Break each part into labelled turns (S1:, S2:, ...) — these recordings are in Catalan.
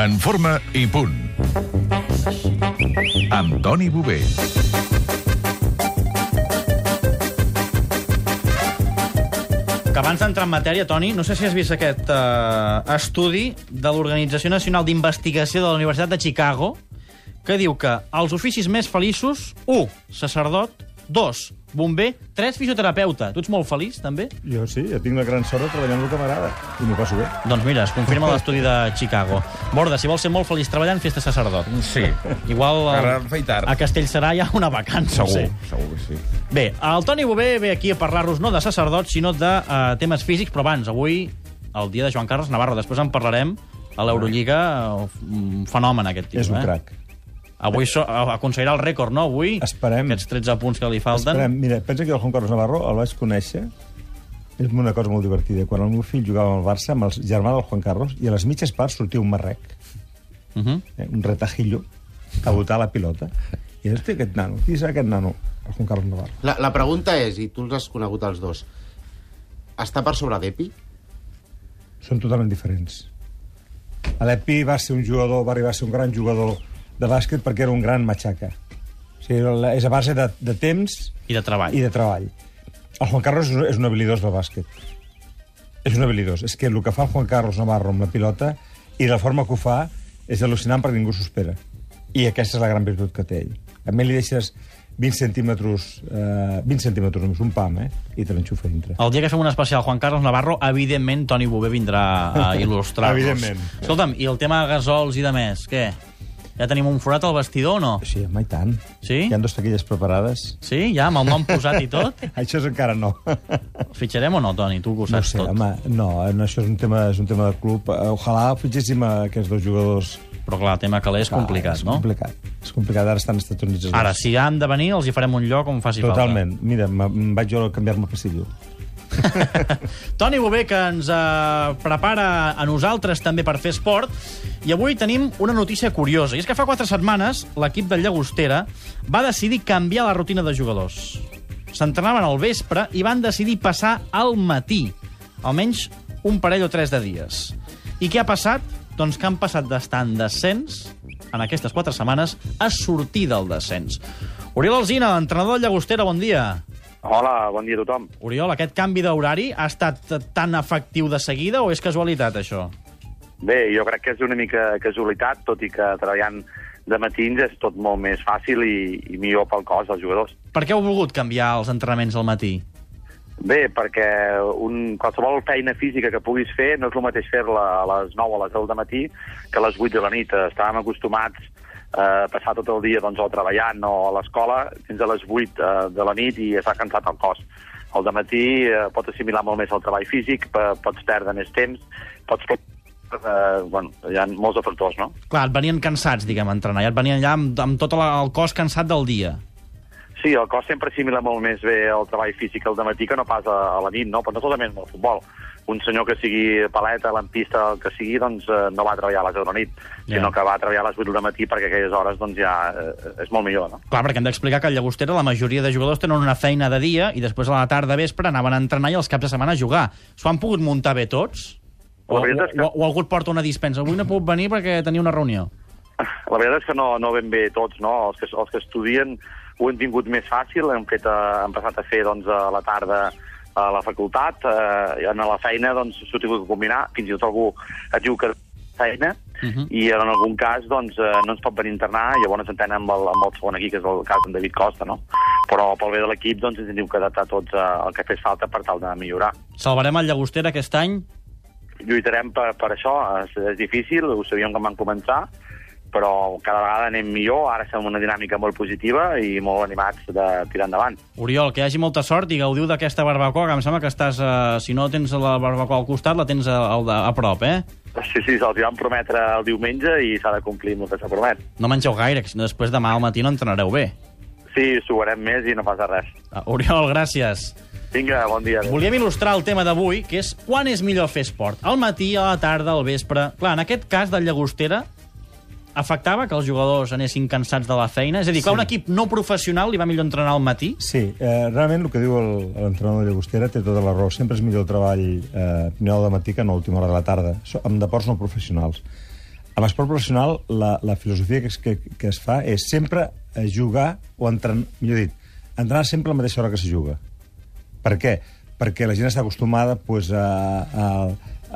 S1: En forma i punt. Amb Toni Bové.
S2: Que abans d'entrar en matèria, Toni, no sé si has vist aquest eh, estudi de l'Organització Nacional d'Investigació de la Universitat de Chicago, que diu que els oficis més feliços, 1, sacerdot, 2, bomber, 3, fisioterapeuta. Tu ets molt feliç, també?
S3: Jo sí, jo tinc la gran sort de treballar amb el que m'agrada. I m'ho passo bé.
S2: Doncs mira, es confirma l'estudi de Chicago. Borda, si vols ser molt feliç treballant, fes-te sacerdot.
S4: Sí.
S2: Igual a,
S4: Ara feia tard.
S2: a Castellserà hi ha una vacança,
S4: Segur,
S2: no sé.
S4: segur que sí.
S2: Bé, el Toni Bové ve aquí a parlar-nos no de sacerdots, sinó de uh, temes físics, però abans, avui, el dia de Joan Carles Navarro, després en parlarem a l'Eurolliga, eh, un fenomen aquest tio.
S3: És un
S2: eh?
S3: crac.
S2: Avui so aconseguirà el rècord, no? Avui,
S3: Esperem.
S2: aquests 13 punts que li falten.
S3: Esperem, mira, pensa que jo el Juan Carlos Navarro el vaig conèixer és una cosa molt divertida. Quan el meu fill jugava al Barça amb el germà del Juan Carlos i a les mitges parts sortia un marrec,
S2: Uh -huh.
S3: eh, un retajillo, a botar la pilota. I dius, "Hòstia, aquest nano, qui serà aquest nano? El Juan Carlos Navarro.
S5: La, la pregunta és, i tu els has conegut els dos, està per sobre d'Epi?
S3: Són totalment diferents. L'Epi va ser un jugador, va arribar a ser un gran jugador de bàsquet perquè era un gran matxaca. O sigui, era la- és a base de, de temps
S2: I de treball.
S3: i de treball. El Juan Carlos és un- és un habilidós del bàsquet. És un habilidós. És que el que fa el Juan Carlos Navarro amb la pilota i la forma que ho fa és al·lucinant perquè ningú s'ho espera. I aquesta és la gran virtut que té ell. A mi li deixes 20 centímetres, eh, 20 centímetres només, un pam, eh? I te l'enxufa a dintre.
S2: El dia que fem un especial Juan Carlos Navarro, evidentment Toni Bové vindrà a il·lustrar-nos.
S3: Evidentment.
S2: Escolta'm, i el tema de gasols i de més, què? Ja tenim un forat al vestidor o no?
S3: Sí, home, i tant.
S2: Sí?
S3: Hi han dues taquilles preparades.
S2: Sí? Ja, amb el nom posat i tot?
S3: Això és encara no.
S2: El Fitxarem o no, Toni? Tu que ho
S3: No
S2: saps
S3: sé,
S2: tot.
S3: home, no, eh, no, això és un tema, és un tema de club. Eh, Ojalà fitxéssim a aquests dos jugadors. Ah,
S2: Però clar, el tema caler és complicat,
S3: és
S2: no?
S3: complicat. És complicat, ara estan als Estats Units. els
S2: Ara,
S3: dos.
S2: si han de venir, els hi farem un lloc on faci
S3: Totalment. Mira, me- em vaig jo a canviar-me el pestillo.
S2: falta. Toni Bové, que ens eh, prepara a nosaltres també per fer esport, i avui tenim una notícia curiosa. I és que fa quatre setmanes l'equip del Llagostera va decidir canviar la rutina de jugadors. S'entrenaven al vespre i van decidir passar al matí, almenys un parell o tres de dies. I què ha passat? Doncs que han passat d'estar en descens en aquestes quatre setmanes a sortir del descens. Oriol Alzina, entrenador del Llagostera, bon dia.
S6: Hola, bon dia a tothom.
S2: Oriol, aquest canvi d'horari ha estat tan efectiu de seguida o és casualitat, això?
S6: Bé, jo crec que és una mica casualitat, tot i que treballant de matins és tot molt més fàcil i, i millor pel cos dels jugadors.
S2: Per què heu volgut canviar els entrenaments al matí?
S6: Bé, perquè un, qualsevol feina física que puguis fer no és el mateix fer-la a les 9 o a les 10 de matí que a les 8 de la nit. Estàvem acostumats a passar tot el dia doncs, o treballant o a l'escola fins a les 8 eh, de la nit i està cansat el cos. El de matí eh, pots assimilar molt més el treball físic, pe- pots perdre més temps, pots... Eh, bueno, hi ha molts de factors, no?
S2: Clar, et venien cansats, diguem, a entrenar. Ja et venien allà amb, amb tot la, el cos cansat del dia.
S6: Sí, el cos sempre assimila molt més bé el treball físic al matí que no pas a, a la nit, no? però no solament amb el futbol. Un senyor que sigui paleta, lampista, el que sigui, doncs eh, no va treballar a les 10 de la nit,
S2: Ja.
S6: yeah. sinó que va treballar a les 8 del matí perquè aquelles hores doncs, ja eh, és molt millor, no?
S2: Clar, perquè hem d'explicar que al Llagostera la majoria de jugadors tenen una feina de dia i després a la tarda vespre anaven a entrenar i els caps de setmana a jugar. S'ho han pogut muntar bé tots? O,
S6: La
S2: o,
S6: veritat és que-
S2: o, o algú et porta una dispensa? Avui no he pogut venir perquè tenia una reunió.
S6: La veritat és que no, no ben bé tots, no? Els que, els que estudien ho han tingut més fàcil, han, fet, eh, han passat a fer doncs, a la tarda a la facultat, eh, i a la feina doncs, s'ho ha tingut de combinar, fins i tot algú et diu que feina, uh
S2: Mhm.
S6: -huh. i en algun cas doncs, eh, no ens pot venir a internar, i llavors ens entenen amb el, amb el segon aquí, que és el cas d'en David Costa, no? Però pel bé de l'equip doncs, ens hem d'adaptar tots eh, el que fes falta per tal de millorar
S2: Salvarem el Llagostera aquest any?
S6: lluitarem per, per això. És, és difícil, ho sabíem quan vam començar, però cada vegada anem millor, ara estem en una dinàmica molt positiva i molt animats de tirar endavant.
S2: Oriol, que hi hagi molta sort i gaudiu d'aquesta barbacoa, que em sembla que estàs, eh, si no tens la barbacoa al costat, la tens a, al de- a prop, eh?
S6: Sí, sí, se'ls hi vam prometre el diumenge i s'ha de complir amb el que s'ha promet.
S2: No mengeu gaire, que si no després demà al matí no entrenareu bé.
S6: Sí, suarem més i no passa res.
S2: Ah, Oriol, gràcies.
S6: Vinga, bon dia. adéu.
S2: Volíem il·lustrar el tema d'avui, que és quan és millor fer esport, al matí, a la tarda, al vespre... Clar, en aquest cas del Llagostera, afectava que els jugadors anessin cansats de la feina? És a dir, que a un equip no professional li va millor entrenar al matí?
S3: Sí, eh, realment el que diu el- l'entrenador de Llagostera té tota la raó. Sempre és millor el treball eh, primer hora de matí que no a última hora de la tarda, so, amb deports no professionals. Amb esport professional, la, la filosofia que es, que, que es fa és sempre eh, jugar o entrenar, millor dit, entrenar sempre a la mateixa hora que se juga. Per què? Perquè la gent està acostumada pues, a, a,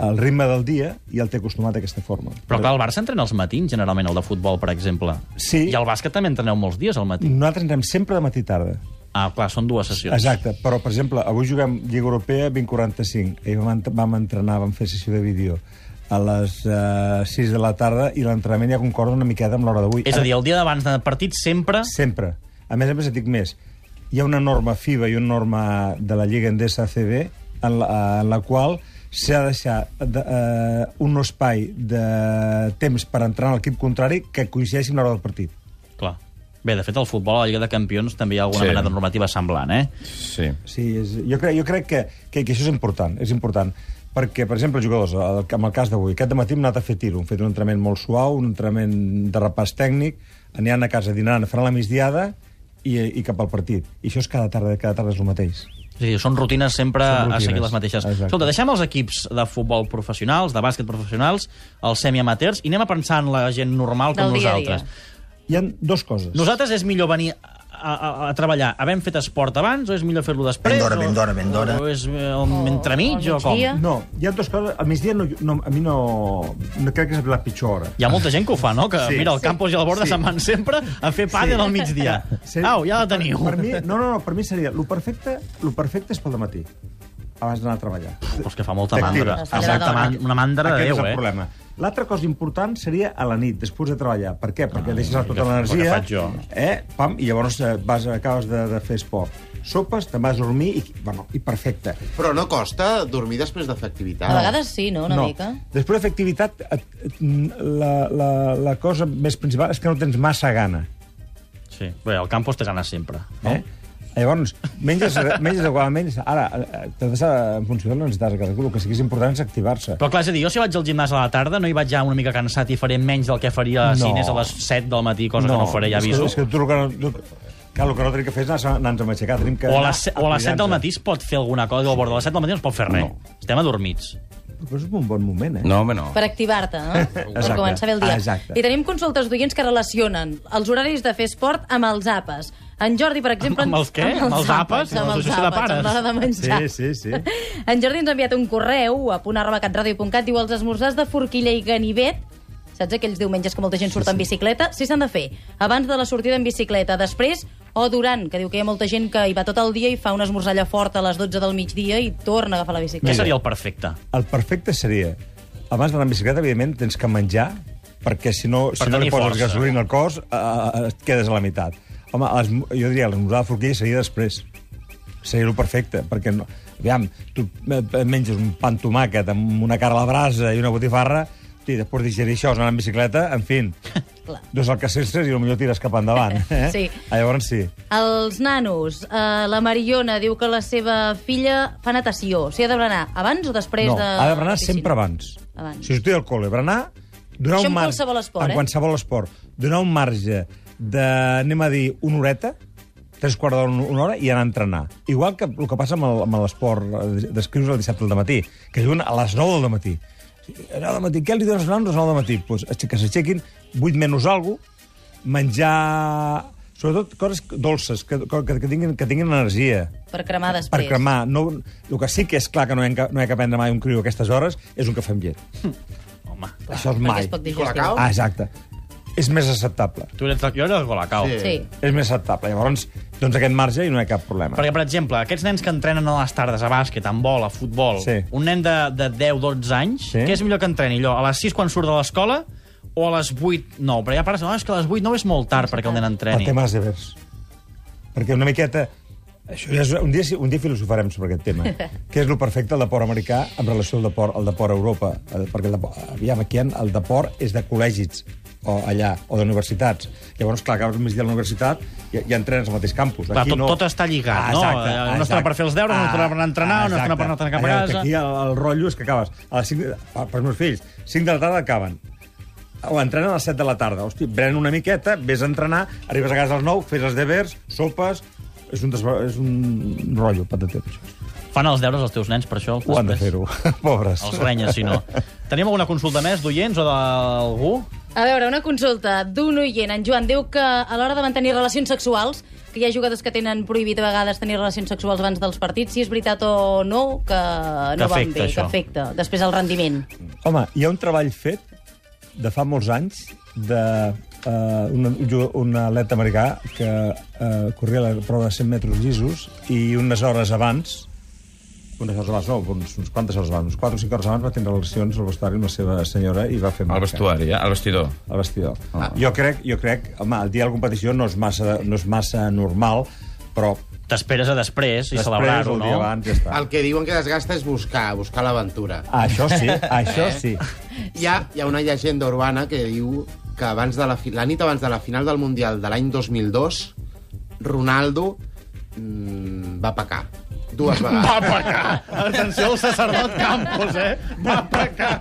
S3: al ritme del dia i el té acostumat a aquesta forma.
S2: Però clar, el Barça entrena als matins, generalment, el de futbol, per exemple.
S3: Sí. Mm.
S2: I el bàsquet també entreneu molts dies al matí.
S3: Nosaltres entrenem sempre de matí i tarda.
S2: Ah, clar, són dues sessions.
S3: Exacte, però, per exemple, avui juguem Lliga Europea 2045. Ahir vam, ent- vam entrenar, vam fer sessió de vídeo a les uh, 6 de la tarda i l'entrenament ja concorda una miqueta amb l'hora d'avui.
S2: És a dir, el dia d'abans de partit sempre...
S3: Sempre. A més a més, et dic més. Hi ha una norma FIBA i una norma de la Lliga Endesa CB en la, en la qual s'ha de deixar de, eh, un espai de temps per entrar en l'equip contrari que coincideixi amb l'hora del partit.
S2: Clar. Bé, de fet, al futbol, a la Lliga de Campions, també hi ha alguna
S4: Sí.
S2: sí. mena de normativa semblant, eh?
S4: Sí.
S3: Sí, és, jo crec, jo crec que, que, que això és important, és important. Perquè, per exemple, els jugadors, el, en el cas d'avui, aquest matí hem anat a fer tiro, hem fet un entrenament molt suau, un entrenament de repàs tècnic, aniran a casa, dinaran, faran la migdiada i, i cap al partit. I això és cada tarda, cada tarda és el mateix.
S2: És a dir, són rutines sempre
S3: Són
S2: són
S3: rutines,
S2: a seguir les mateixes.
S3: exacte.
S2: Escolta, deixem els equips de futbol professionals, de bàsquet professionals, els semiamateurs, i anem a pensar en la gent normal com
S7: Del dia a dia.
S2: nosaltres.
S3: Hi han dues coses.
S2: Nosaltres és millor venir a, a, a treballar havent fet esport abans o és millor fer-lo després?
S8: Ben d'hora,
S2: o-
S8: ben d'hora, ben d'hora.
S2: O és eh, el- entremig o
S7: al
S2: com?
S7: migdia.
S3: No, hi ha dues coses. Al migdia no, no, a mi no, no crec que és la pitjor hora.
S2: Hi ha molta gent que ho fa, no? Que
S3: Sí.
S2: sí, mira, al
S3: Sí.
S2: campus i al bord de
S3: Sí.
S2: se'n van sempre a fer pàdel sí. al migdia.
S3: Sí.
S2: Au, ja la teniu.
S3: Per, per mi, no, no, no, per mi seria... Lo perfecte, lo perfecte és pel dematí, abans d'anar a treballar.
S2: Però és que fa molta
S3: T'activa.
S2: mandra.
S7: Fa
S2: Fa molta
S7: molta
S2: man una mandra de
S3: Aquest
S2: Déu,
S3: és el
S2: eh?
S3: problema. L'altra cosa important seria a la nit, després de treballar. Per què? Perquè deixes
S2: el
S3: tota
S2: Ah, que- el que
S3: l'energia...
S2: faig jo.
S3: Eh? Pam, I llavors eh, vas, acabes de, de fer esport. Sopes, te'n vas a dormir i, bueno, i perfecte.
S5: Però no costa dormir després de fer
S7: A
S5: activitat.
S7: vegades sí, no? Una
S3: no.
S7: mica.
S3: Després de fer activitat, et- et- la, la, la cosa més principal és que no tens massa gana.
S2: Sí. Bé, al campus té ganes sempre.
S3: Eh? Llavors, menges, menges adequadament. Ara, eh, t'has de, en funció de les necessitats de cadascú, el que sí que és important és activar-se.
S2: Però clar, és a dir, jo si vaig al gimnàs a la tarda no hi vaig ja una mica cansat i faré menys del que faria no.
S3: No.
S2: si anés a les 7 del matí, cosa no, que no faré, ja
S3: és que-
S2: aviso.
S3: És que tu el que no... Tu, clar, el que no tenim que fer és anar- anar-nos a aixecar. Tenim que
S2: O a,
S3: anar
S2: les, se- o a les 7 del
S3: cuidar-nos.
S2: matí es pot fer alguna cosa, o al bord de les 7 del matí no es pot fer res. No. Estem adormits.
S3: Però és un bon moment, eh?
S4: No, home, no.
S7: Per activar-te, no?
S3: Exacte.
S7: Per començar bé el dia.
S3: Exacte.
S7: I tenim consultes d'oients que relacionen els horaris de fer esport amb els àpats. En Jordi, per exemple...
S2: Amb- amb els què? Amb els àpats?
S7: Amb
S2: Amb
S7: els
S2: l'associació de
S7: àpats, amb
S2: pares?
S7: l'hora de menjar.
S3: Sí, sí, sí.
S7: En Jordi ens ha enviat un correu a punt.catradio.cat, diu els esmorzars de forquilla i ganivet Saps aquells diumenges que molta gent surt en bicicleta? Sí, s'han de fer. Abans de la sortida en bicicleta, després o durant, que diu que hi ha molta gent que hi va tot el dia i fa una esmorzalla forta a les 12 del migdia i torna a agafar la bicicleta.
S2: Què seria el perfecte?
S3: El perfecte seria... Abans d'anar amb bicicleta, evidentment, tens que menjar, perquè si no,
S2: Per
S3: si no li
S2: tenir
S3: poses
S2: força.
S3: gasolina al cos, eh, eh, et quedes a la meitat. Home, les, jo diria, l'esmorzar de forquilla seria després. Seria el perfecte, perquè... No, aviam, tu eh, menges un pa amb tomàquet amb una carn a la brasa i una botifarra, i després digerir això, anar amb bicicleta, en fi, Doncs
S7: Clar.
S3: dos alcacestres i potser tires cap endavant. Eh?
S7: Sí.
S3: Ah, Llavors sí.
S7: Els nanos, eh, la Mariona diu que la seva filla fa natació. O sigui, ha de berenar abans o després
S3: No,
S7: de...
S3: ha de berenar
S7: la piscina?
S3: sempre abans.
S7: Abans.
S3: Si sortir del col·le, berenar, donar
S7: Això
S3: un
S7: en
S3: marge...
S7: qualsevol esport,
S3: en
S7: eh?
S3: qualsevol esport. Donar un marge de, anem a dir, una horeta, tres quarts d'hora, una hora, i anar a entrenar. Igual que el que passa amb el- amb l'esport eh, d'escriure el dissabte al matí, que juguen a les 9 del matí. A les 9 del matí. Què li diuen als nanos a les 9 del matí? Pues, que s'aixequin 8 menys alguna menjar... Sobretot coses dolces, que, que, que, tinguin, que tinguin energia
S7: Per cremar després.
S3: per cremar. No, el que sí que és clar que no hi ha, que- no hi ha que prendre mai un criu a aquestes hores és un cafè amb llet.
S2: Home,
S3: Això és
S7: perquè
S3: mai.
S7: es pot digestir.
S5: Colacao?
S3: Ah, exacte. És més acceptable.
S2: tu eres jo era el Golacau. Sí.
S5: Sí.
S7: Ah, Sí.
S3: És més acceptable. Llavors, doncs aquest marge i no hi ha cap problema.
S2: Perquè, per exemple, aquests nens que entrenen a les tardes a bàsquet, a vol, a futbol,
S3: Sí.
S2: un nen de, de 10-12 anys,
S3: Sí.
S2: què és millor que entreni? Allò, a les 6 quan surt de l'escola o a les 8 9? Però hi ha pares, no, és que a les 8 9 és molt tard perquè el nen
S3: El
S2: entreni.
S3: tema dels devers. Perquè una miqueta... Això ja és, un, dia, sí- un dia filosofarem sobre aquest tema. que és el perfecte del deport americà en relació al deport, al deport a Europa. Eh, Perquè el deport, aviam, aquí en- el deport és de col·legis o allà, o d'universitats. Llavors, clar, acabes més dia a la universitat i, i entrenes al mateix campus. Ah,
S2: Clar, tot- tot està lligat, no? Una estona per fer els deures, una estona per anar a entrenar, una estona per anar a cap a
S3: Allà, que
S2: casa.
S3: Aquí el, el rotllo és que acabes... A les 5, de- per, pels meus fills, 5 de la tarda acaben. O entrenen a les 7 de la tarda. Hosti, bren una miqueta, vés a entrenar, arribes a casa als 9, fes els devers, sopes... És un, desva... és un rotllo, patatet, això.
S2: Fan els deures els teus nens, per això.
S3: Ho han de
S2: després
S3: fer-ho, pobres.
S2: Els renyes, si no. Tenim alguna consulta més d'oients o d'algú?
S7: A veure, una consulta d'un oient. En Joan diu que a l'hora de mantenir relacions sexuals, que hi ha jugadors que tenen prohibit a vegades tenir relacions sexuals abans dels partits, si és veritat o no, que no
S2: Que
S7: van
S2: afecta,
S7: bé, que
S2: això.
S7: afecta. Després el rendiment.
S3: Home, hi ha un treball fet de fa molts anys de uh, un, un ju- un atleta americà que uh, corria la prova de 100 metres llisos i unes hores abans unes hores abans, no, uns, uns quantes hores abans, uns 4 o 5 hores abans va tenir relacions al vestuari amb la seva senyora i va fer
S4: Al
S3: marca.
S4: vestuari, eh? Al vestidor.
S3: al vestidor. Ah. Jo crec, jo crec, home, el dia de la competició no és massa, no és massa normal, però
S2: T'esperes a després i
S3: després,
S2: celebrar-ho, no?
S3: el dia abans, ja està.
S5: El que diuen que desgasta és buscar, buscar l'aventura.
S3: Ah, això sí,
S2: Eh?
S3: això sí.
S5: Hi ha, hi ha una llegenda urbana que diu que abans de la, fi, la nit abans de la final del Mundial de l'any 2002, Ronaldo mm, va pecar. Dues vegades.
S2: Va pecar! Atenció al sacerdot Campos, eh? Va pecar!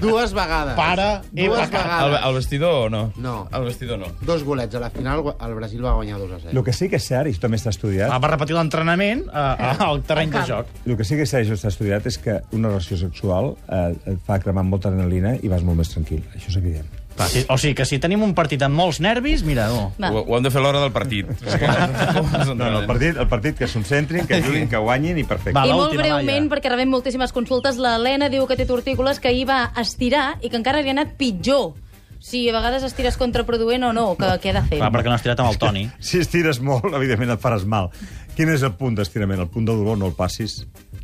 S5: Dues vegades.
S2: Para i
S5: Dues
S2: pecar.
S4: Al,
S5: vegades.
S4: al vestidor o no?
S5: No.
S4: Al vestidor no.
S5: Dos golets. A la final gu- el Brasil va guanyar 2 a 0.
S3: El que sí que és cert, i això també està estudiat,
S2: Va repetir l'entrenament eh, al terreny de
S7: Al camp.
S2: joc.
S3: El que sí que s'ha s'ha estudiat és que una relació sexual eh, et fa cremar molta adrenalina i vas molt més tranquil. Això és evident.
S2: Va, sí, o sigui que si tenim un partit amb molts nervis, mira, oh. no.
S4: Ho,
S7: Va.
S4: ho hem de fer a l'hora del partit.
S3: No, no, el partit, el partit que es concentrin, que juguin, que guanyin i perfecte.
S2: Va,
S7: I molt
S2: l'última,
S7: breument,
S2: Laia.
S7: perquè rebem moltíssimes consultes, l'Helena diu que té tortícules que ahir va estirar i que encara li ha anat pitjor. Si a vegades estires contraproduent o no, que, què ha de fer?
S2: Clar, perquè no has tirat amb el Toni.
S3: Si estires molt, evidentment et faràs mal. Quin és el punt d'estirament? El punt de dolor no el passis.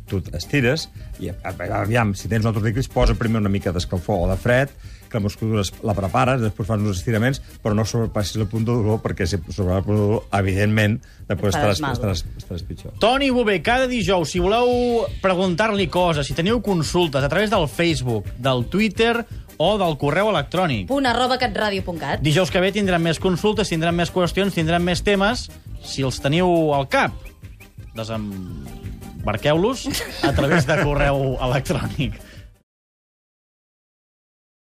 S3: Tu estires i, a- a- aviam, si tens un altre clínic, posa primer una mica d'escalfor o de fred, que la musculatura es- la prepares, després fas uns estiraments, però no sobrepassis el punt de dolor, perquè si sobre el punt de dolor, evidentment, després
S7: faràs
S3: estaràs,
S7: mal.
S3: estaràs, estaràs pitjor.
S2: Toni Bové, cada dijous, si voleu preguntar-li coses, si teniu consultes a través del Facebook, del Twitter o del correu electrònic.
S7: Punt arroba catradio.cat.
S2: Dijous que ve tindran més consultes, tindran més qüestions, tindran més temes. Si els teniu al cap, desembarqueu-los a través de correu electrònic.